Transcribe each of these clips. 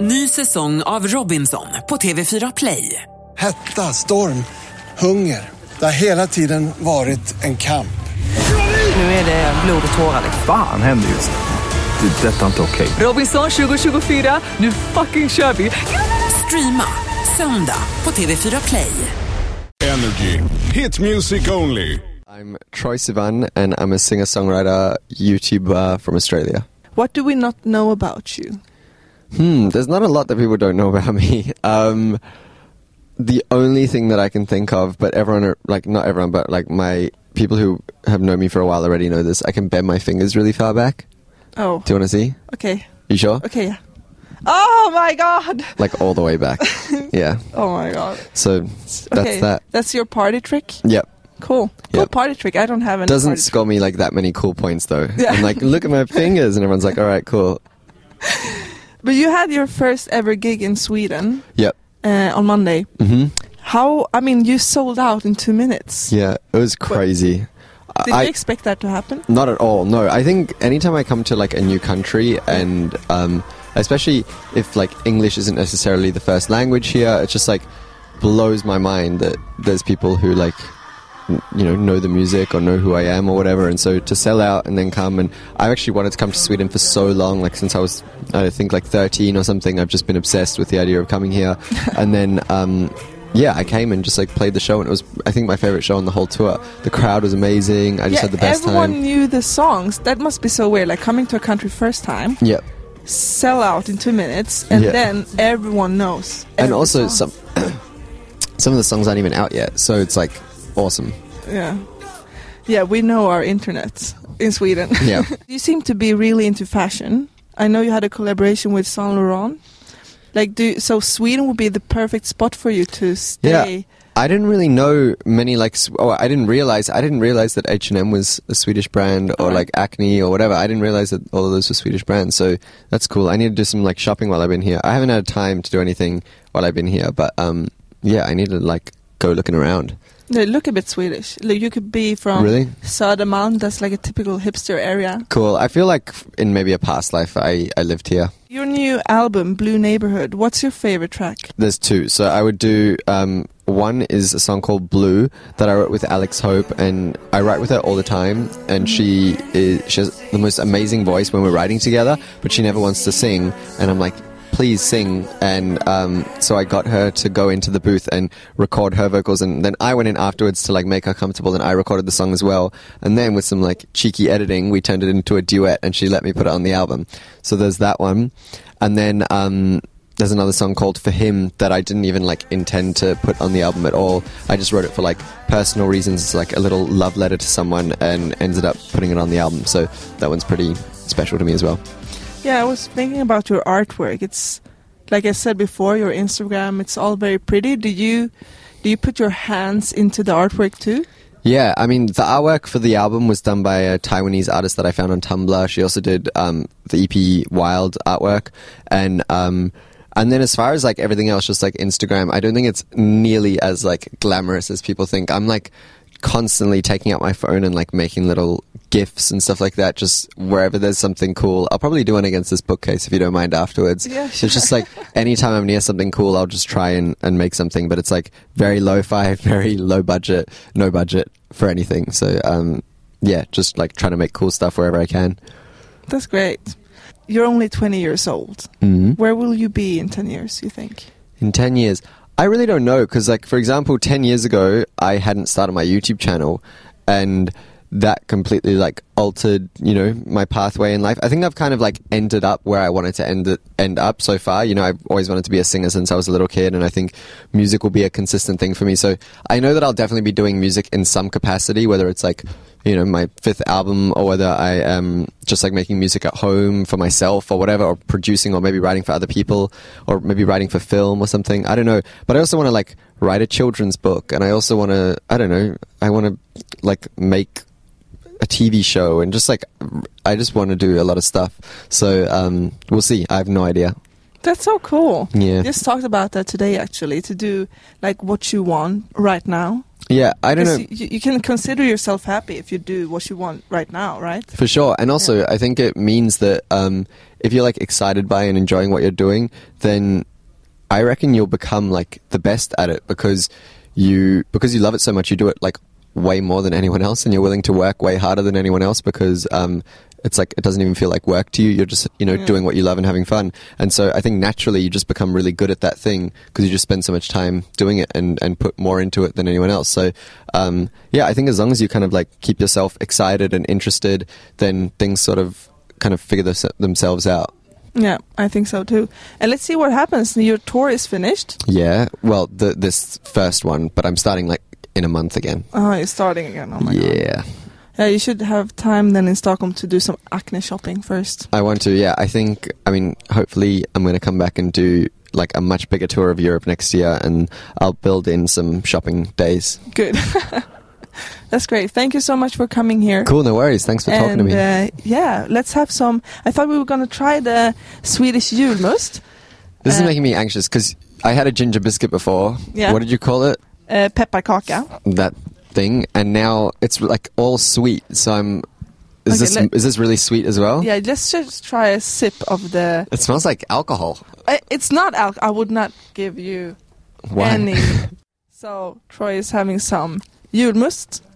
Ny säsong av Robinson på TV4 Play. Hetta, storm, hunger. Det har hela tiden varit en kamp. Nu är det blod och tårar. Fan händer just nu. Det. är Detta är inte okej. Robinson 2024, nu fucking kör vi! Streama söndag på TV4 Play. Energy. Hit music only. I'm Troy Sivan, and I'm a singer songwriter, YouTuber from Australia. What do we not know about you? Hmm, there's not a lot that people don't know about me. Um, the only thing that I can think of, but everyone, like, not everyone, but like my people who have known me for a while already know this, I can bend my fingers really far back. Oh, Do you want to see? okay. You sure? Okay, yeah. Oh my god! Like, all the way back. yeah. Oh my god. So that's Okay. that. That's your party trick? Yep. Cool. Cool Yep. party trick. I don't have any. Doesn't party score me like that many cool points though. Yeah. I'm like, look at my fingers, and everyone's like, all right, cool. trick. But you had your first ever gig in Sweden Yep. uh, on Monday. hmm How, I mean, you sold out in two minutes. Yeah, it was crazy. Did I- you expect that to happen? Not at all. No, I think anytime I come to like a new country and um, especially if like English isn't necessarily the first language here, it just like blows my mind that there's people who like n- you know know the music or know who I am or whatever. And so to sell out and then come and I've actually wanted to come to Sweden for so long, like since I was I think like 13 or something. I've just been obsessed with the idea of coming here, and then. Um, yeah, I came and just like played the show, and it was I think my favorite show on the whole tour. The crowd was amazing. I just yeah, had the best everyone time. knew the songs. That must be so weird. Like coming to a country first time, Yep. sell out in two minutes, and Yeah. then everyone knows. And every also song. some some of the songs aren't even out yet, so it's like awesome. Yeah. Yeah, we know our internet in Sweden. Yeah. you seem to be really into fashion. I know you had a collaboration with Saint Laurent. Like do so Sweden would be the perfect spot for you to stay. I didn't really know many like s- oh I didn't realize I didn't realize that H&M was a Swedish brand or Alright. like Acne or whatever. I didn't realize that all of those were Swedish brands. So that's cool. I need to do some like shopping while I've been here. I haven't had time to do anything while I've been here, but um yeah, I need to like go looking around. They look a bit Swedish. Like you could be from Really? Södermalm, that's like a typical hipster area. Cool. I feel like in maybe a past life I I lived here. Your new album, Blue Neighborhood, what's your favorite track? There's two. So I would do um, one is a song called Blue that I wrote with Alex Hope, and I write with her all the time. And she is she has the most amazing voice when we're writing together, but she never wants to sing. And I'm like, please sing. And um, so I got her to go into the booth and record her vocals, and then I went in afterwards to like make her comfortable, and I recorded the song as well. And then with some like cheeky editing, we turned it into a duet, and she let me put it on the album. So there's that one, and then. Um, there's another song called For Him that I didn't even like intend to put on the album at all. I just wrote it for like personal reasons, It's like a little love letter to someone, and ended up putting it on the album. So that one's pretty special to me as well. Yeah, I was thinking about your artwork. It's like I said before, your Instagram, it's all very pretty. Do you do you put your hands into the artwork too? Yeah, I mean, the artwork for the album was done by a Taiwanese artist that I found on Tumblr. She also did um, the EP Wild artwork, and um, and then as far as like everything else, just like Instagram, I don't think it's nearly as like glamorous as people think. I'm like constantly taking out my phone and like making little gifs and stuff like that. Just wherever there's something cool, I'll probably do one against this bookcase if you don't mind afterwards. Yeah, sure. It's just like anytime I'm near something cool, I'll just try and, and make something. But it's like very lo-fi, very low budget, no budget for anything. So um, yeah, just like trying to make cool stuff wherever I can. That's great. You're only 20 years old. Mhm. Where will you be in 10 years, you think? In ten years, I really don't know because like for example, ten years ago, I hadn't started my YouTube channel, and that completely like altered you know my pathway in life. I think I've kind of like ended up where I wanted to end it, end up so far. You know, I've always wanted to be a singer since I was a little kid, and I think music will be a consistent thing for me. So I know that I'll definitely be doing music in some capacity, whether it's like you know my fifth album or whether I am just like making music at home for myself or whatever, or producing or maybe writing for other people or maybe writing for film or something. I don't know, but I also want to like write a children's book, and I also want to I don't know I want to like make a TV show and just like I just want to do a lot of stuff. So um, we'll see. I have no idea. That's so cool. Yeah. Just talked about that today actually to do like what you want right now. Yeah, I don't know. Because You, you can consider yourself happy if you do what you want right now, right? For sure. And also, I think it means that um, if you're like excited by and enjoying what you're doing, then I reckon you'll become like the best at it because you because you love it so much. You do it like way more than anyone else, and you're willing to work way harder than anyone else because um, it's like it doesn't even feel like work to you. You're just you know doing what you love and having fun. And so I think naturally you just become really good at that thing because you just spend so much time doing it and and put more into it than anyone else. So um, yeah, I think as long as you kind of like keep yourself excited and interested, then things sort of kind of figure those themselves out. Yeah, I think so too. And let's see what happens. Your tour is finished. Yeah, well, the, this first one, but I'm starting like in a month again. Oh, you're starting again. Oh my god. yeah, Yeah, you should have time then in Stockholm to do some acne shopping first. I want to. Yeah, I think. I mean, hopefully, I'm going to come back and do like a much bigger tour of Europe next year, and I'll build in some shopping days. Good. That's great. Thank you so much for coming here. Cool, no worries. Thanks for talking to and me. uh, yeah, let's have some. I thought we were gonna try the Swedish julmust, this is uh, making me anxious because I had a ginger biscuit before. Yeah. What did you call it? uh, pepparkaka. That thing, and now it's like all sweet. So I'm. Is Okay, this let- is this really sweet as well? Yeah, let's just try a sip of the. It smells like alcohol. I, it's not alc. I would not give you Why? any. so Troy is having some julmust.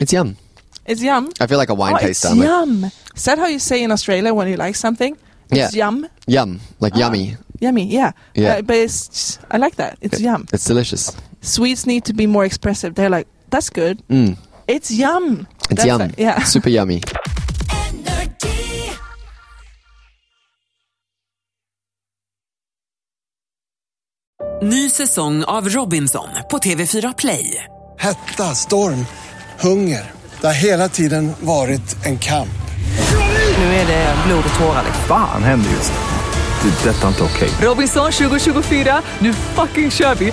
It's yum. It's yum. I feel like a wine Oh, it's taster. I'm like, yum. Is that how you say in Australia when you like something? It's Yeah. yum. Yum, Ah. like yummy. Yummy, yeah. Yeah. Uh, but it's, I like that. It's yum. It's delicious. Swedes need to be more expressive. They're like, that's good. Mm, It's yum. it's That's yum. like- yeah. Super yummy. Ny säsong av Robinson på TV4 Play. Hetta, storm, hunger. Det har hela tiden varit en kamp. Nu är det blod och tårar. Fan händer just nu. Det. är Detta är inte okej. Robinson 2024, nu fucking kör vi!